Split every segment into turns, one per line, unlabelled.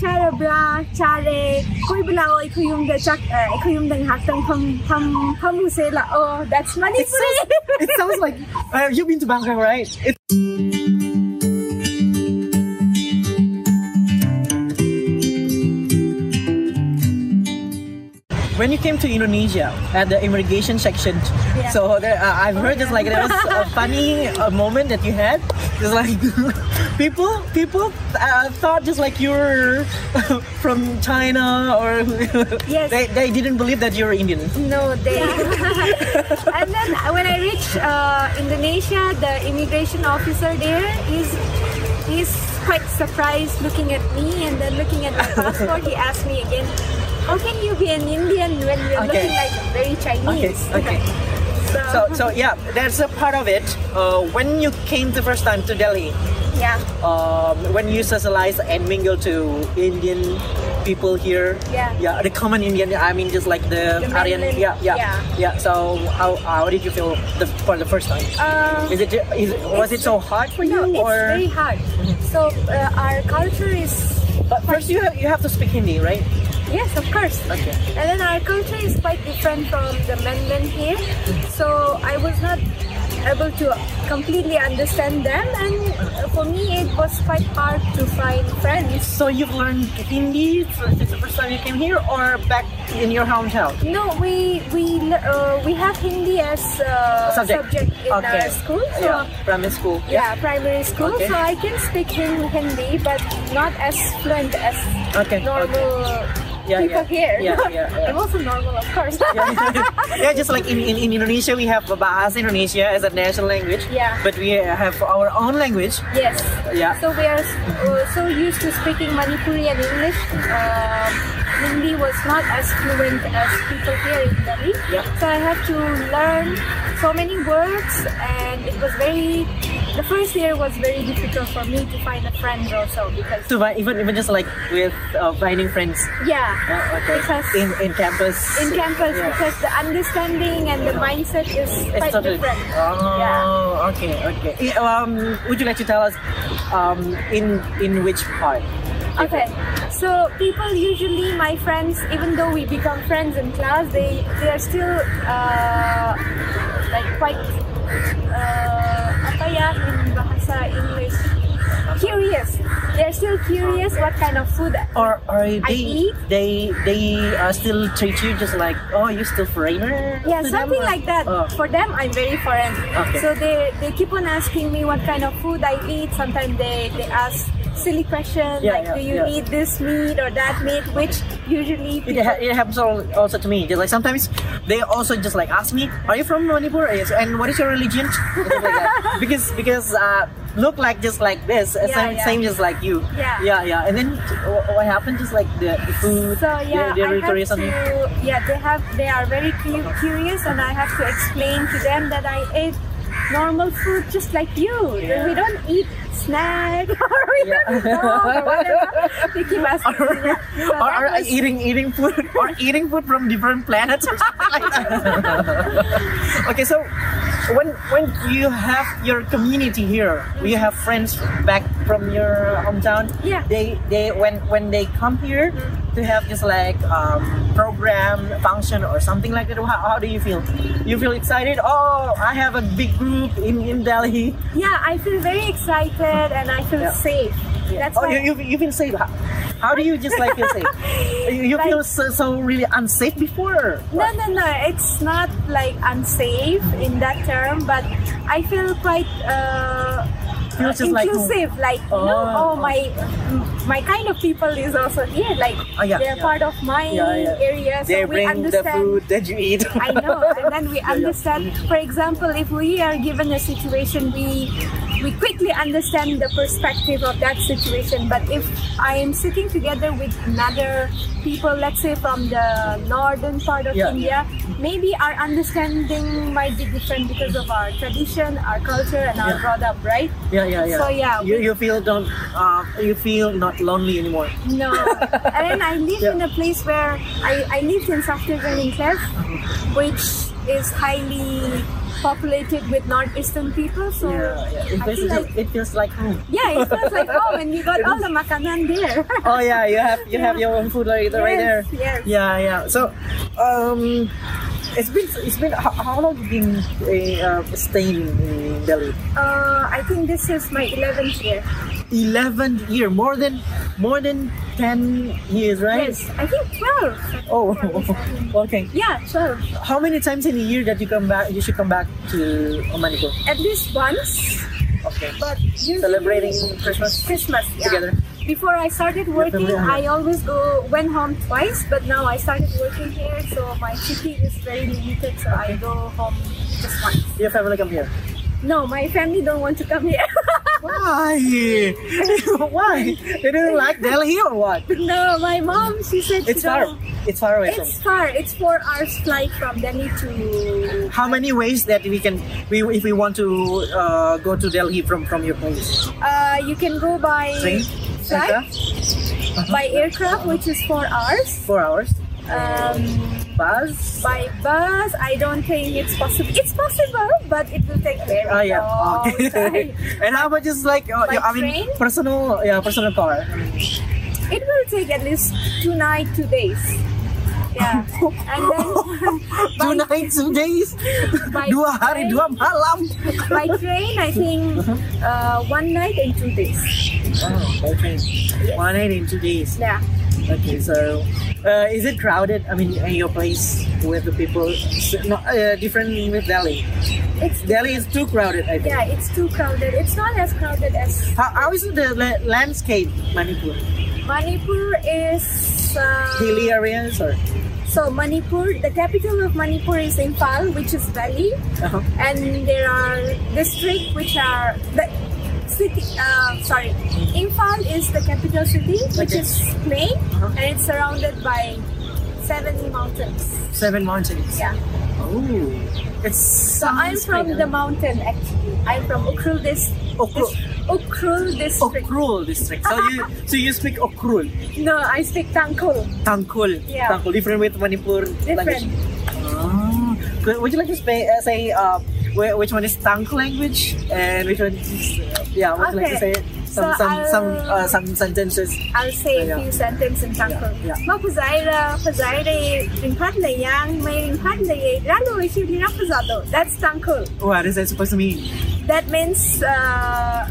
Chacharabra, Chare, Koy Balaoy, Kuyumda, Chak, uh, Kuyumdang Haktang, Pam, Pam, Pamusela. Oh, that's Manipuri.
It sounds like uh, you've been to Bangkok, right? It, when you came to Indonesia at the immigration section,
Yeah.
so there, uh, I've heard just like there was a funny uh, moment that you had. Just like people, people uh, thought just like you were from China or
Yes.
they, they didn't believe that you were Indian.
no, they. and then when I reached uh, Indonesia, the immigration officer there is he's quite surprised looking at me and then looking at my passport. he asked me again, "How can you be an Indian when you're
Okay.
looking like very
Okay,
Chinese?"
okay. So, so yeah, that's a part of it. Uh, when you came the first time to Delhi,
yeah.
um, when you socialize and mingle to Indian people here,
Yeah.
yeah, the common Indian, I mean, just like the,
The
Aryan,
mainland,
yeah, yeah,
yeah.
So, how, how did you feel the, for the first time?
Uh,
is it is it- was
it's-
it so hard for
No, it's
you, or
very hard. So uh, our culture is
but first you have you have to speak Hindi, right?
yes, of course.
Okay.
And then our culture is quite different from the mainland here. So I was not able to completely understand them, and uh, for me it was quite hard to find friends.
So you've learned Hindi for- since the first time you came here, or back in your hometown?
No, we we le- uh, we have Hindi as uh,
Subject.
in our
okay.
school. So
yeah, from school.
yeah, primary school.
Okay.
So I can speak Hin- Hindi, but not as fluent as
Okay,
normal
Yeah,
people
yeah.
here.
Yeah, yeah, yeah.
I'm also normal, of course.
yeah, just like in, in, in Indonesia, we have Bahasa Indonesia as a national language.
Yeah.
But we have our own language.
yes.
Yeah.
So we are uh, so used to speaking Manipuri and English. Um Hindi was not as fluent as people here in Delhi.
Yeah.
So I had to learn so many words, and it was very. The first year was very difficult for me to find a friend also because
So but even even just like with uh, finding friends
yeah,
uh, okay,
because
in in campus.
in campus
Yeah.
because the understanding and the mindset is quite
It's totally
different.
Oh,
Yeah.
okay, okay. Yeah, Um, would you like to tell us um, in in which part?
Okay. So people usually, my friends, even though we become friends in class, they they are still uh, like quite uh, apa ya in bahasa English curious. They are still curious what kind of food.
Or or they
eat.
they they uh, still treat you just like oh you're still foreigner?
Yeah,
to them,
something
or-
like that.
Oh.
For them, I'm very foreign.
Okay.
So they, they keep on asking me what kind of food I eat. Sometimes they, they ask silly questions
Yeah,
like,
yeah,
do you
yeah.
eat this meat or that meat? Which usually
It,
people-
ha- it happens al- also to me. Just like sometimes they also just like ask me, "Are you from Manipur? Yes. And what is your religion?" And stuff like that. because because uh, look like just like this, uh,
Yeah,
same,
yeah.
same just like you.
Yeah.
yeah, yeah. And then wh- what happened? Just like the, the food,
So yeah, I
the, the
have
territory, something.
to. Yeah, they have. They are very cu- curious, and I have to explain to them that I ate normal food just like you.
Yeah.
We don't eat snack or we
Yeah.
don't eat dog or whatever. They keep asking.
Or,
me that. So
or, or uh,
that was-
eating eating food or eating food from different planets or something like that. okay, so when when you have your community here, you have friends back from your hometown.
Yeah.
They they when when they come here to have this like um, program function or something like that. How, how do you feel? You feel excited? Oh, I have a big group in in Delhi.
yeah, I feel very excited and I feel
Yeah.
safe. That's
oh,
why.
you, you, you feel safe. How, how do you just like feel safe? You, you
Like-
feel so, so really unsafe before.
no, no, no. It's not like unsafe in that term, but I feel quite. Uh,
Feels just like- mm.
inclusive, like, you know,
Oh.
oh my, my kind of people is also here. Like
Oh, yeah,
they're
yeah.
part of my
Yeah, yeah.
area, so
they
we
bring the
understand.
food that you eat.
I know, and then we
Yeah, yeah.
understand. For example, if we are given a situation, we we quickly understand the perspective of that situation. But if I am sitting together with another people, let's say from the northern part of
Yeah,
India, maybe our understanding might be different because of our tradition, our culture, and our
Yeah.
brought up, right?
Yeah, yeah, yeah.
So, yeah,
you,
we-
you feel don't uh, you feel not lonely anymore.
No. and then I lived
Yeah.
in a place where I, I lived in Saftagran in Clef, which is highly populated with northeastern people. So
Yeah, yeah. It
I
feels,
feel like
it feels like home.
yeah, it feels like home, and you got all the makanan there.
Oh yeah, you have you have
Yeah.
your own food right, right there.
Yes, yes.
Yeah, yeah. So, um, it's been it's been how, how long you been uh, uh, staying in Delhi?
Uh, I think this is my 11th year.
Eleven year, more than more than ten years, right?
Yes, I think 12.
Oh,
Yeah,
okay.
Yeah, 12.
How many times in a year that you come back? You should come back to Omaniko.
At least once.
Okay.
But usually-
Celebrating Christmas.
Christmas yeah.
Together.
Before I started working,
family
I always go went home twice, but now I started working here, so my city is very limited. So I go home just once.
Your family come here.
No, my family don't want to come here.
Why? Why? They didn't like Delhi or what?
no, my mom. She said she
It's far.
don't-
It's far away from.
It's far. It's four hours flight from Delhi to.
How many ways that we can we if we want to uh, go to Delhi from from your place?
Uh, you can go by
Train, Uh-huh.
flight,
aircraft?
by aircraft, which is four hours.
four hours.
Um,
Bus.
by bus, I don't think it's possible. It's possible, but it will take very
Oh yeah.
long
Okay.
time.
and how about just like uh,
By
yeah, I mean
train?
personal yeah personal car.
It will take at least two night, two days. Yeah, and then
Two nights, two days,
by
dua hari,
train-
dua malam.
by train, I think uh, one night and two days.
Oh, okay. One night in two days.
Yeah.
Okay, so uh, is it crowded? I mean, in your place with the people, s- not uh, different with Delhi.
It's
Delhi is too crowded, I think.
yeah, it's too crowded. It's not as crowded as
How, how is the la- landscape, Manipur?
Manipur is. Uh,
Hilly areas or?
so Manipur, the capital of Manipur is Imphal, which is Delhi.
Uh-huh.
and there are districts which are the city. Uh, sorry, Imphal is the capital city, which
Okay.
is plain,
Uh-huh.
and it's surrounded by seven mountains.
Seven mountains.
Yeah.
Oh, it's.
So I'm from the mountain actually. I'm from Ukrul dis-
Okrul.
dis- Ukrul district.
Okrul district. So you so you speak Okrul,
No, I speak Tangkol.
Tangkul,
Yeah.
Tangkul, different with Manipur language.
Different.
Ah. Could- Would you like to spe- uh, say uh, wh- which one is Tangkul language and which one is uh, yeah? Would you like to say
Okay.
some
So
some
I'll-
some uh, some sentences?
I'll say
Yeah.
a few sentences in Tangkol.
Yeah, yeah.
Mau puzai ra, puzai re, ringpat le yang, may ringpat le ye, ralo ishi li rapuzado. That's Tangkol.
What is that supposed to mean?
That means uh,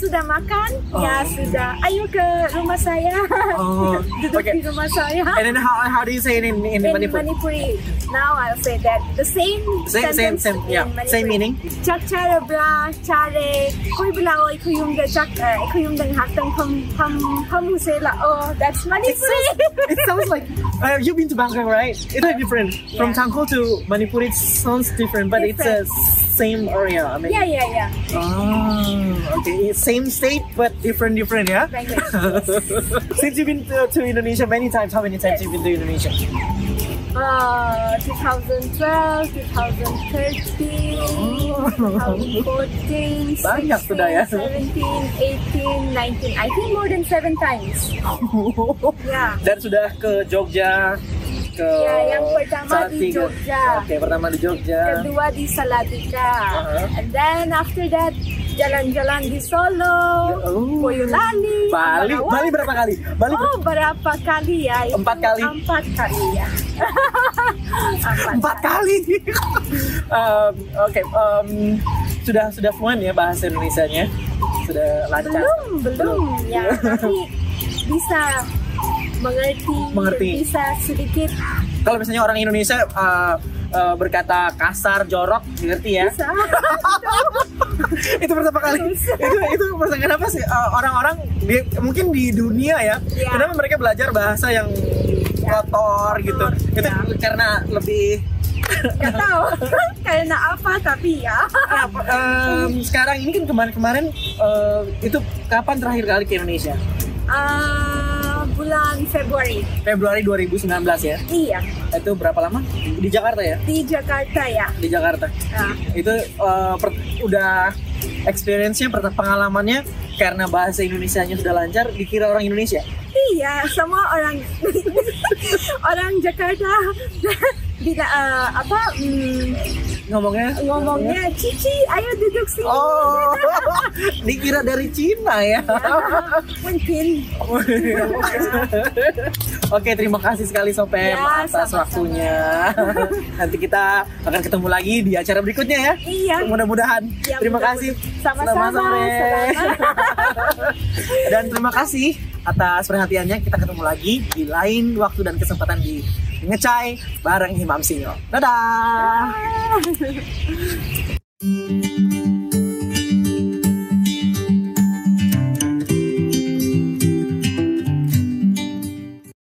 sudah makan?
Oh.
Ya sudah. Ayo ke rumah saya.
Oh,
Duduk
okay.
di rumah saya.
And then how, how do you say it in, in,
in
Manipur?
Manipuri. Now I'll say that the same
Same- same-
sentence
same,
in
yeah,
Manipuri.
same meaning.
Chak chara bla chare koi belao ikhu yung da chak eh, ikhu yung dang hak tang pam pam pam la oh that's Manipuri.
it sounds like uh, you've been to Bangkok, right? It's like different from
Yeah.
Tangkol to Manipur. It sounds different, but
Different.
it's a same area. I mean,
yeah yeah yeah.
Oh, okay. It's Same state, but different, different, yeah.
Language.
Since you've been to, to Indonesia many times, how many times
Yes.
you've been to Indonesia?
Uh, 2012, 2013, 2014,
Banyak
16,
sudah ya.
17, 18, 19. I think more than seven times. Yeah.
Dan sudah ke Jogja, ke
Ya, yang pertama di
Salatiga.
Jogja.
Oke, pertama di Jogja.
Kedua di Salatiga.
Uh-huh.
And then after that, jalan-jalan di Solo,
Oh.
Boyolali,
Bali,
Ambarawa.
Bali berapa kali? Bali
Oh, berapa kali ya? Itu
Empat kali.
Empat kali ya. empat.
empat kali. um, Oke, um, sudah sudah fluent ya bahasa Indonesianya, sudah lancar.
belum belum ya tapi bisa mengerti
Mengerti.
bisa sedikit
Kalau misalnya orang Indonesia uh, uh, berkata kasar, jorok, ngerti ya?
bisa
itu pertama kali itu itu pertama kenapa sih uh, orang-orang di- mungkin di dunia ya
Iya.
kenapa mereka belajar bahasa yang kotor gitu itu karena lebih
nggak tahu karena apa tapi ya
apa, em, sekarang ini kan kemarin-kemarin eh, itu kapan terakhir kali ke Indonesia
Ah, bulan Februari
Februari 2019 ya
iya
itu berapa lama di Jakarta ya
di Jakarta ya
di Jakarta
Ah,
itu eh, per- udah experience-nya per- pengalamannya karena bahasa Indonesianya sudah lancar dikira orang Indonesia
iya semua orang orang Jakarta tidak eh, apa hmm,
ngomongnya?
ah, ngomongnya Cici ayo duduk sini
Oh, dikira dari Cina ya.
mungkin
Oke, terima kasih sekali Sopem
Ya,
atas
sama-sama.
waktunya. Nanti kita akan ketemu lagi di acara berikutnya ya.
Iya.
Mudah-mudahan.
Ya,
terima
mudah-mudahan.
kasih.
Sama-sama,
Sopem.
selamat.
Dan terima kasih atas perhatiannya. Kita ketemu lagi di lain waktu dan kesempatan di Ngecai bareng Imam Sinyo. Dadah.